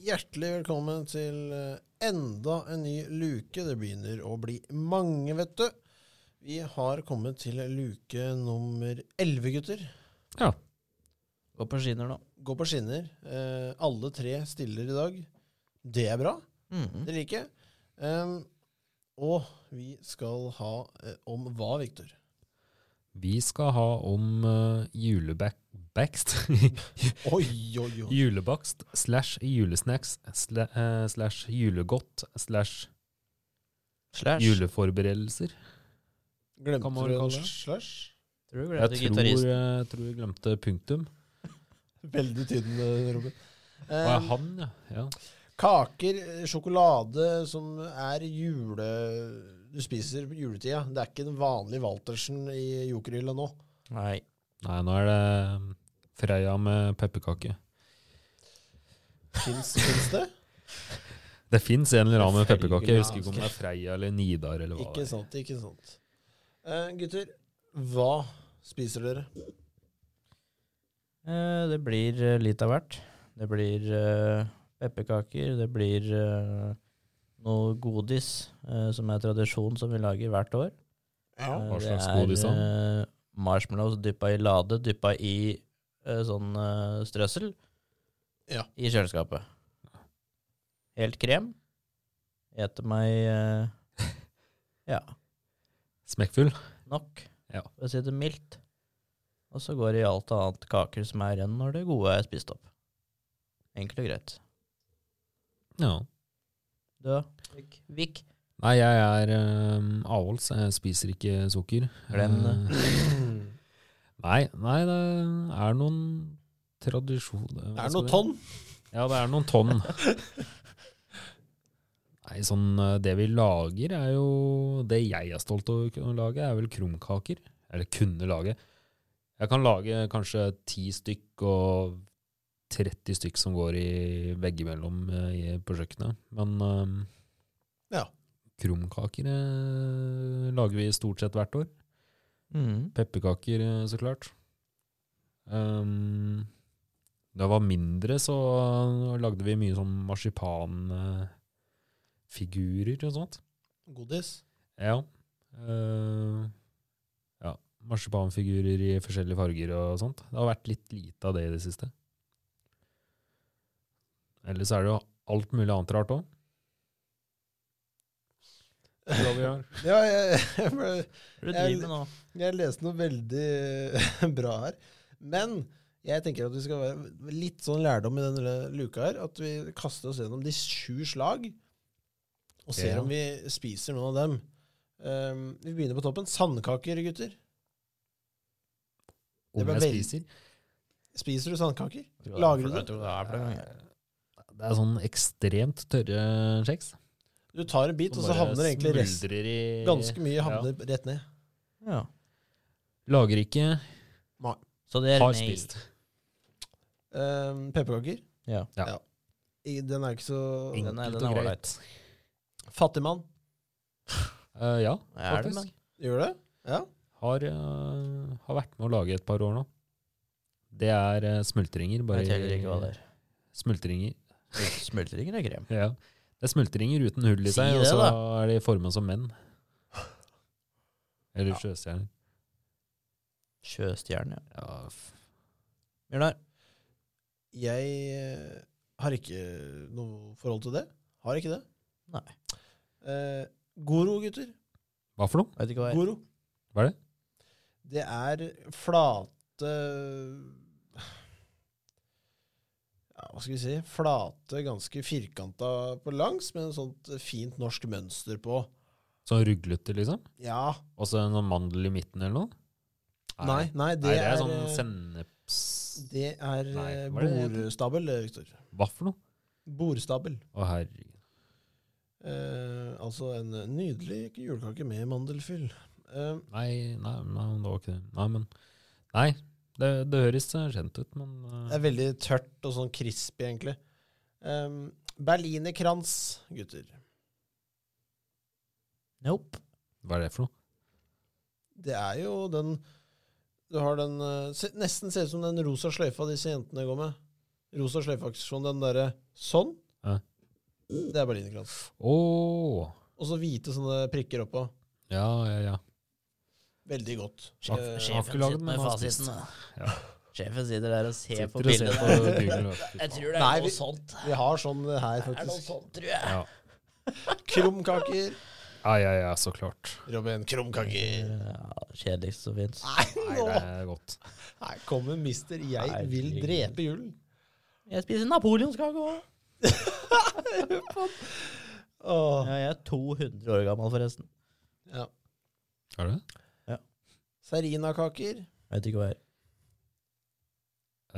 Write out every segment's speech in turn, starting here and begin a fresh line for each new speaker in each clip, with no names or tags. Hjertelig velkommen til eh, enda en ny luke. Det begynner å bli mange, vet du. Vi har kommet til luke nummer elleve, gutter.
Ja. Gå på skinner nå.
Gå på skinner. Eh, alle tre stiller i dag. Det er bra. Det liker jeg. Em, og vi skal ha eh, om hva, Viktor?
Vi skal ha om uh, julebakst
Oi, oi, oi.
Julebakst slash julesnacks sla, eh, slash julegodt slash
Slash.
juleforberedelser.
Glemte
Kan man
du en
kalle det?
slash?
Tror du
Jeg
glemte
tror, eh,
gitarist?
jeg tror jeg glemte punktum.
Veldig tynn, eh, Robin.
Å,
Em,
ja, han, ja. ja.
Kaker, eh, sjokolade som er jule... Du spiser på juletida. Det er ikke den vanlige Waltersen i jokerhylla nå.
Nei.
Nei, nå er det um, Freia med pepperkake.
Fins, fins det?
Det fins en eller annen med
Selvfølgelig,
pepperkake. Jeg
ja.
husker ikke om det er Freia eller Nidar eller hva
Ikke
det er.
sant, ikke sant. Eh, gutter, hva spiser dere?
Eh, det blir eh, litt av hvert. Det blir eh, pepperkaker, det blir eh, noe godis, eh, som er tradisjon som vi lager hvert år. Eh,
Hva
det
slags
er,
godis da?
eh, marshmallows dyppa i lade, dyppa i eh, sånn eh, strøssel.
Ja.
I kjøleskapet. Helt krem. Eter meg eh, ja,
Smekkfull?
nok,
Ja.
for å si det mildt. Og så går det i alt annet kaker som er igjen når det gode er spist opp. Enkelt og greit.
Ja.
Du, Vik. Vik.
Nei, jeg er um, avholds. Jeg spiser ikke sukker.
Glem det.
Eh, Nei, nei, det er noen tradisjoner
Er det noe tonn?
Ja, det er noen tonn. Nei, sånn eh, Det vi lager, er jo Det jeg er stolt over å kunne lage, er vel krumkaker. Eller kunne lage. Jeg kan lage kanskje ti stykk og 30 stykk som går i veggimellom eh, i- på kjøkkenet. Men eh,
Ja.
krumkaker eh, lager vi stort sett hvert år.
Mm.
Pepperkaker, eh, så klart. Ehm, da jeg var mindre, så lagde vi mye sånn marsipanfigurer og sånt.
Godis?
Ja. Eh, ja. Marsipanfigurer i forskjellige farger og sånt. Det har vært litt lite av det i det siste. Ellers er det jo alt mulig annet rart òg.
Ja, jeg, jeg, ble-
Hva er det du
Jeg-
driver med nå?
jeg leste noe veldig bra her. Men jeg tenker at vi skal være litt sånn lærdom i denne luka her. At vi kaster oss gjennom de sju slag, og ser
Ja.
om vi spiser noen av dem. Um, vi begynner på toppen. Sandkaker, gutter. Det
Om
var
jeg
veldig-
spiser.
Spiser du sandkaker?
Jeg tror det er
Lager
for-
du det?
jeg tror det er for det.
Det er sånn ekstremt tørre kjeks.
Du tar en bit, og så havner egentlig resten Ganske mye havner rett ned.
Ja.
Lager ikke,
Så det er
har
nei.
spist.
Um, Pepperkaker.
Ja.
I- Den er ikke så
Ingen. den er
Enkelt og
all
greit.
Fattigmann.
Eh, ja,
Er
faktisk.
det, men?
Gjør det? Ja.
Har, eh, har vært med å lage et par år nå. Det er eh, smultringer. Bare
Jeg teller ikke hva det er.
Smultringer.
Smultringer er krem.
Ja. Det er smultringer uten hull i
Si
seg, og
det,
så
da.
er de forma som menn. Eller
Ja.
sjøstjerner.
Sjøstjerne. ja.
Ja, f-
Bjørnar,
Jeg eh, har ikke noe forhold til det. Har ikke det.
Nei.
Eh, Goro, gutter.
hva for noe?
vet ikke hva det er.
Goro.
Hva er det?
Det er flate ja, Hva skal vi si? Flate, ganske firkanta på langs, med et sånt fint norsk mønster på.
Sånn ruglete, liksom?
Ja.
Og så en sånn mandel i midten eller noe?
Nei, nei, det,
Nei, det er,
er,
sånn
eh,
senneps...
Det er
Nei,
eh,
hva er det det
borstabel, det, Victor.
Hva for noe?
Borstabel.
Å, herregud.
Eh, altså en nydelig julekake med mandelfyll. Eh,
Nei, nei, nei, det var ikke det. Nei, men Nei, det, det høres eh, kjent ut, men
det
eh,
er veldig tørt og sånn crispy, egentlig. Eh, Berlinerkrans, gutter.
Nope.
Hva er det for noe?
Det er jo den Du har den eh, se, Nesten ser ut som den rosa sløyfa disse jentene går med. Rosa sløyfeaksjon, den derre sånn.
Ja.
Det er berlinerkrans.
Åh,
Og så hvite sånne prikker oppå.
ja, ja, ja.
Veldig godt.
Sjef,
Eh,
sjef. har ikke
sjefen
laget
sitter med
den, han har
fasiten. da.
Ja.
Sjefen sitter der og ser på
Sitter og ser
bildet.
på
der.
Google.
Jeg tror det er
Nei, vi-
noe sånt.
Vi har sånn her,
Det er noe
faktisk.
sånt, tror jeg.
Ja.
Krumkaker.
ja, ja, ja, så klart.
Robin, krumkaker.
Ja, kjedeligst som fins.
Nei,
Nei,
nå
det er godt.
Her kommer mister Jeg vil
Herregud.
drepe julen.
Jeg spiser napoleonskake òg.
Åh,
Ja, jeg er 200 år gammel, forresten.
ja.
Er det?
Serinakaker.
Vet ikke hva jeg er.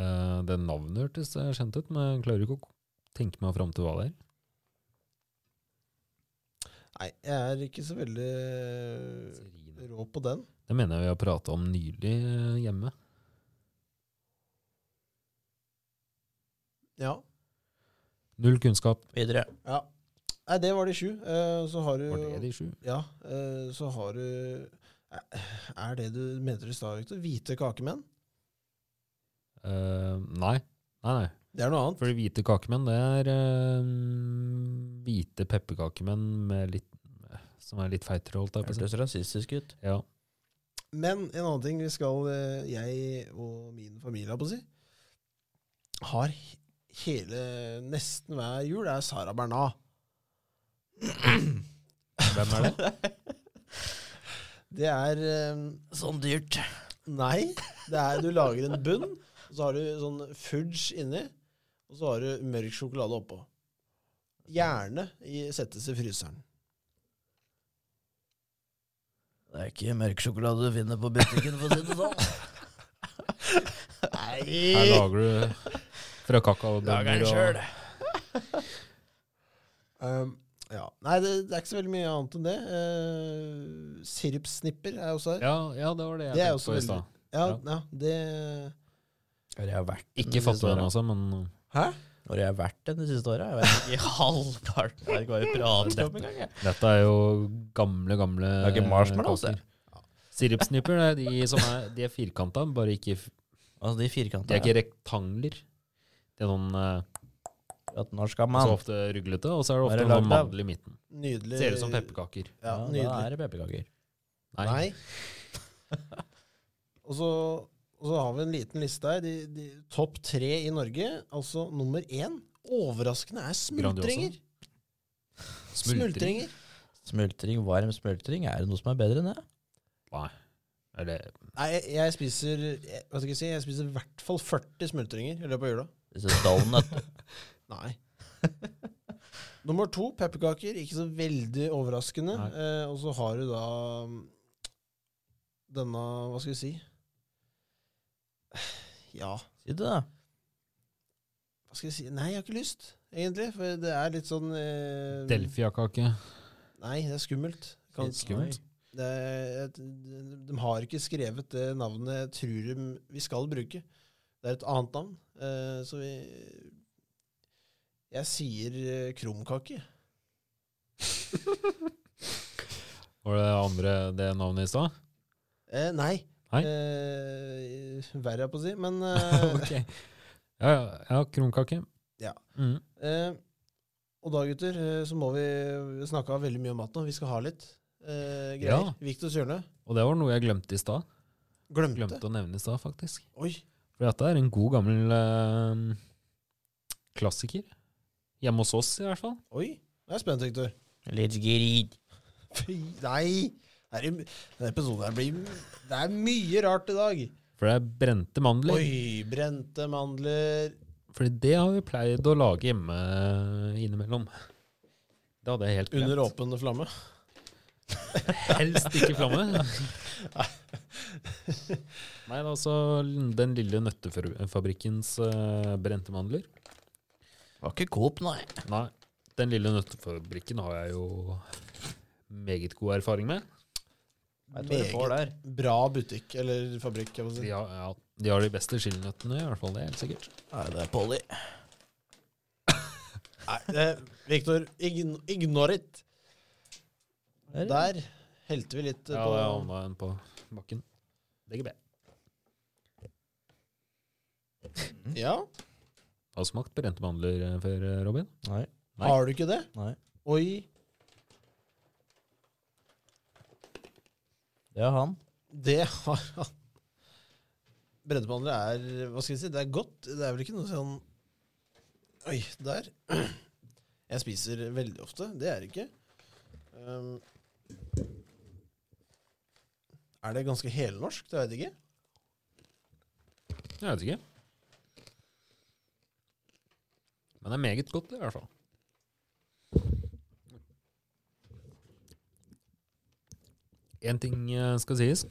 Eh, det navnet hørtes eh, kjent ut, men jeg klarer ikke å tenke meg fram til hva det er.
Nei, jeg er ikke så veldig Eh, rå på den.
Det mener jeg vi har prata om nylig eh, hjemme.
Ja.
Null kunnskap.
Videre.
ja. Nei, det var de sju. Eh, så har du
Var det de sju?
Ja, eh, så har du Eh, Er det du mente i stad, Victor? Hvite kakemenn?
Eh, nei. Nei, nei.
Det er noe annet.
Fordi hvite kakemenn, det er eh, hvite pepperkakemenn med litt som er litt feitere, holdt jeg på å si.
Hørtes rasistisk ut.
Ja.
Men en annen ting vi skal eh, Jeg og min familie, har på å si, har he- hele Nesten hver jul er Sara Bernat.
Hvem er det?
Det er eh,
Sånn dyrt.
Nei. Det er Du lager en bunn, og så har du sånn fudge inni, og så har du mørk sjokolade oppå. Gjerne i, settes i fryseren.
Det er ikke mørk sjokolade du finner på butikken, for å si det sånn.
Her
Nei!
lager du fra
Lager
kakaobønner
den
og
sjøl.
Um, ja. Nei, det, det er ikke så veldig mye annet enn det. Uh, sirupsnipper er også her.
ja, ja, det var det jeg
Det er
tenkte
også
på i
veldig-
stad.
Ja,
Ja.
ja, det
Når jeg har vært den de
Ikke
siste
fattig den,
årene.
altså, men
Hæ?
Når jeg har vært den de siste åra. Jeg vet ikke halvparten av hva jeg prater om engang. jeg.
Dette er jo gamle, gamle
Det er ikke marshmallows,
kaker. Sirupsnipper det er de som er, de er firkanta, bare ikke f-
Altså, de
De
firkanta
er ikke rektangler. De er noen eh,
at Når skal
så
man
ofte ruglete, og så er det
Hva er
ofte
det
noen
lagd av?
mandel i midten.
Nydelig.
Ser ut som pepperkaker.
Ja,
Da
nydelig.
er det pepperkaker.
Nei.
Nei. og, så, og så har vi en liten liste her. De, de, topp tre i Norge. Altså nummer én. Overraskende er smultringer.
Smultring.
Smultringer.
Smultring, varm smultring. Er det noe som er bedre enn det?
Eller
Nei, jeg, jeg spiser jeg, Hva skal jeg si? Jeg spiser i hvert fall 40 smultringer i løpet av jula.
Disse donut.
Nei. Nummer to, pepperkaker. Ikke så veldig overraskende.
Nei.
Eh, og så har du da mm, denne Hva skal vi si? Ja,
Si det, da.
hva skal jeg si? Nei, jeg har ikke lyst, egentlig. For det er litt sånn eh,
delfiakake.
Nei, det er skummelt. Kan,
Litt skummelt.
det er, et- de, de har ikke skrevet det navnet jeg tror de, vi skal bruke. Det er et annet navn. Eh, så vi Jeg sier eh, krumkake.
Var det andre det navnet i stad?
Eh, nei.
Nei?
Eh, verre, jeg på å si. Men eh,
Ok. Ja, ja, ja, kronkake.
Ja.
Mm.
eh, Og da, gutter, eh, så må vi vi snakke veldig mye om mat nå. Vi skal ha litt eh, greier.
Ja.
Viktors hjørne.
Og det var noe jeg glemte i stad.
Glemte.
Glemte å nevne i stad, faktisk.
Oi.
For dette er en god, gammel eh, klassiker. Hjemme hos oss, i hvert fall.
Oi. Nå er jeg spent, Viktor.
Litt grid.
Fy, nei! Det er i- Denne episoden her blir Det er mye rart i dag.
For det er brente mandler.
Oi, brente mandler.
Fordi det har vi pleid å lage hjemme innimellom. Det hadde jeg helt glemt.
Under åpen flamme.
Helst ikke flamme. Nei, det er altså den lille nøttefabrikkens eh, brente mandler.
Var ikke Coop, nei.
Nei, den lille nøttefabrikken har jeg jo meget god erfaring med.
Vet du hva du får der?
bra butikk, eller fabrikk, jeg må si.
De har, ja, de, har de beste chillinøttene, i hvert fall det, helt sikkert.
Nei, det er Polly.
Nei, eh, Viktor, ign ignore it. Der helte vi litt eh,
Ja,
på
det havna en på bakken. DGB.
Ja.
Har du smakt brente mandler eh, før, eh, Robin?
Nei.
Nei.
Har du ikke det?
Nei.
Oi,
Det er han.
det har han. Breddebehandlere er Hva skal jeg si? Det er godt. Det er vel ikke noe sånn Oi, der. Jeg spiser veldig ofte. Det er det ikke. Um, er det ganske helnorsk? Det veit jeg ikke.
Jeg vet ikke. Men det er meget godt, i hvert fall. Én ting eh, skal sies.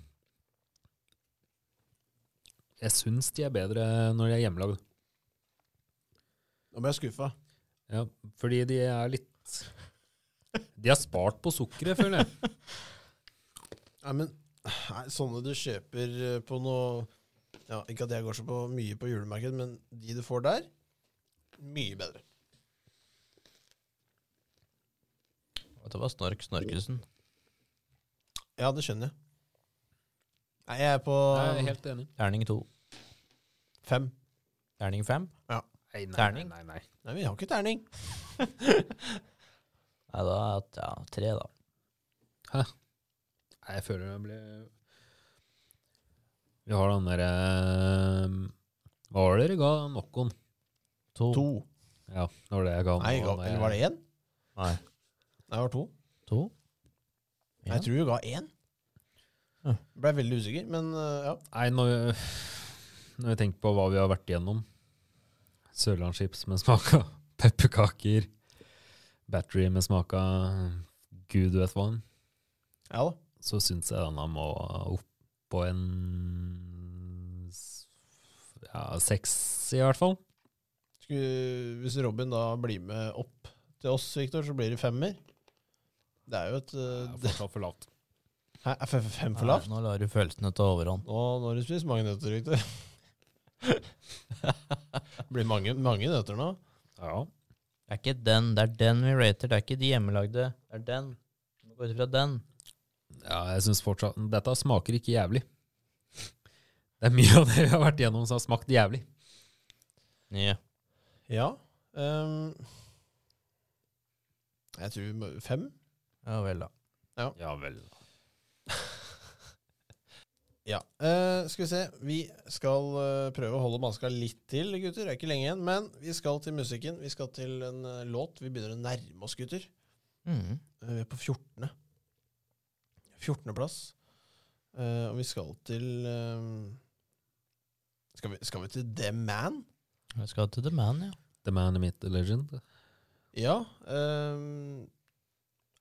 Jeg syns de er bedre når de er hjemmelagd.
Nå ble jeg skuffa.
Ja, fordi de er litt De har spart på sukkeret, føler jeg.
Nei, men nei, sånne du kjøper eh, på noe ja, Ikke at jeg går så på, mye på julemarked, men de du får der, mye bedre.
Dette var Snork Snorkesen.
Ja, det skjønner jeg. Nei, jeg er på
Jeg er helt enig.
Terning to.
fem.
Terning fem?
Nei, nei, nei,
Terning?
nei, nei.
Nei, vi har ikke terning.
Nei, da er det ja, tre, da.
Nei, jeg føler jeg ble Vi har den derre Hva var det dere ga Nokkon?
To.
To.
Ja, det var det jeg ga.
Nei, jeg ga, eller var det én?
Nei.
Nei, det var to.
To?
Nei, Jeg tror vi ga én.
Ja.
Blei veldig usikker, men eh, ja.
Nei, når, når jeg tenker på hva vi har vært igjennom Sørlandschips med smak av pepperkaker, battery med smak av gud vet hva,
Ja da.
så syns jeg denne må opp på en s- ja, seks, i hvert fall.
Skulle, hvis Robin da blir med opp til oss, Viktor, så blir det femmer. Det er jo et
Det
eh,
er
det,
fortsatt for lavt.
Hæ, er fem- fem for lavt?
Nei, Nå lar du følelsene ta overhånd.
Nå, nå har du spist mange nøtter, Victor. det blir mange, mange nøtter nå.
Ja.
Det er ikke den, det er den vi rater. Det er ikke de hjemmelagde. Det er den. Vi må gå ut ifra den.
Ja, jeg synes fortsatt Dette smaker ikke jævlig. Det er mye av det vi har vært gjennom som har smakt jævlig.
Nye.
Ja. ehm, jeg tror vi må- fem.
Ja vel, da.
Ja vel.
Ja. eh, skal vi se. Vi skal eh, prøve å holde maska litt til, gutter. Det er ikke lenge igjen. Men vi skal til musikken. Vi skal til en eh, låt. Vi begynner å nærme oss, gutter.
Mm.
Eh, Vi er på 14. 14. plass. Eh, og vi skal til eh, skal, vi, skal vi til The Man?
Jeg skal til The Man, ja.
The man in the legend.
Ja. ehm,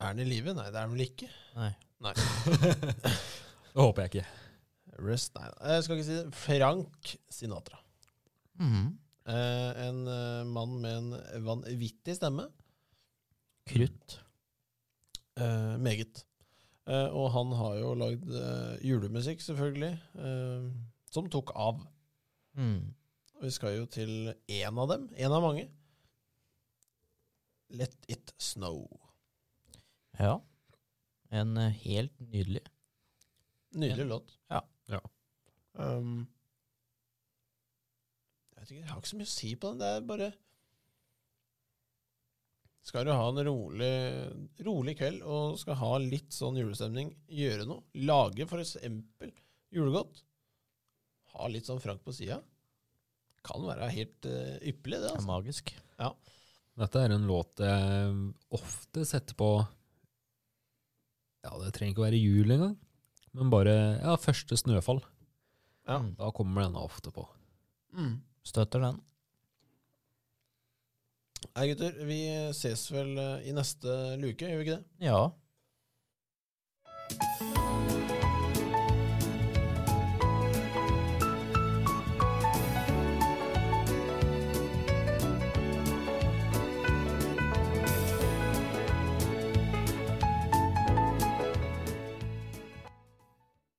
er han i live? Nei, det er han vel ikke.
Nei.
Nei.
Det håper jeg ikke.
Rest, nei. Jeg skal ikke si det. Frank Sinatra.
Mm.
Eh, en eh, mann med en vanvittig stemme.
Krutt.
Eh, meget. Eh, og han har jo lagd eh, julemusikk, selvfølgelig, eh, som tok av.
Mm.
Og vi skal jo til én av dem. Én av mange. Let It Snow.
Ja. En eh, helt nydelig.
Nydelig
Ja.
låt.
Ja.
Ja.
Um, jeg, vet ikke, jeg har ikke så mye å si på den. Det er bare Skal du ha en rolig, rolig kveld og skal ha litt sånn julestemning, gjøre noe. Lage for eksempel julegodt. Ha litt sånn Frank på sida. Kan være helt eh, ypperlig, det.
Det er
altså.
magisk.
Dette er en låt jeg ofte setter på Ja, det trenger ikke å være jul engang, men bare ja, første snøfall.
Ja.
Mm.
Da kommer denne ofte på.
Mm.
Støtter den.
Nei, gutter, vi ses vel eh, i neste luke, gjør vi ikke det?
Ja.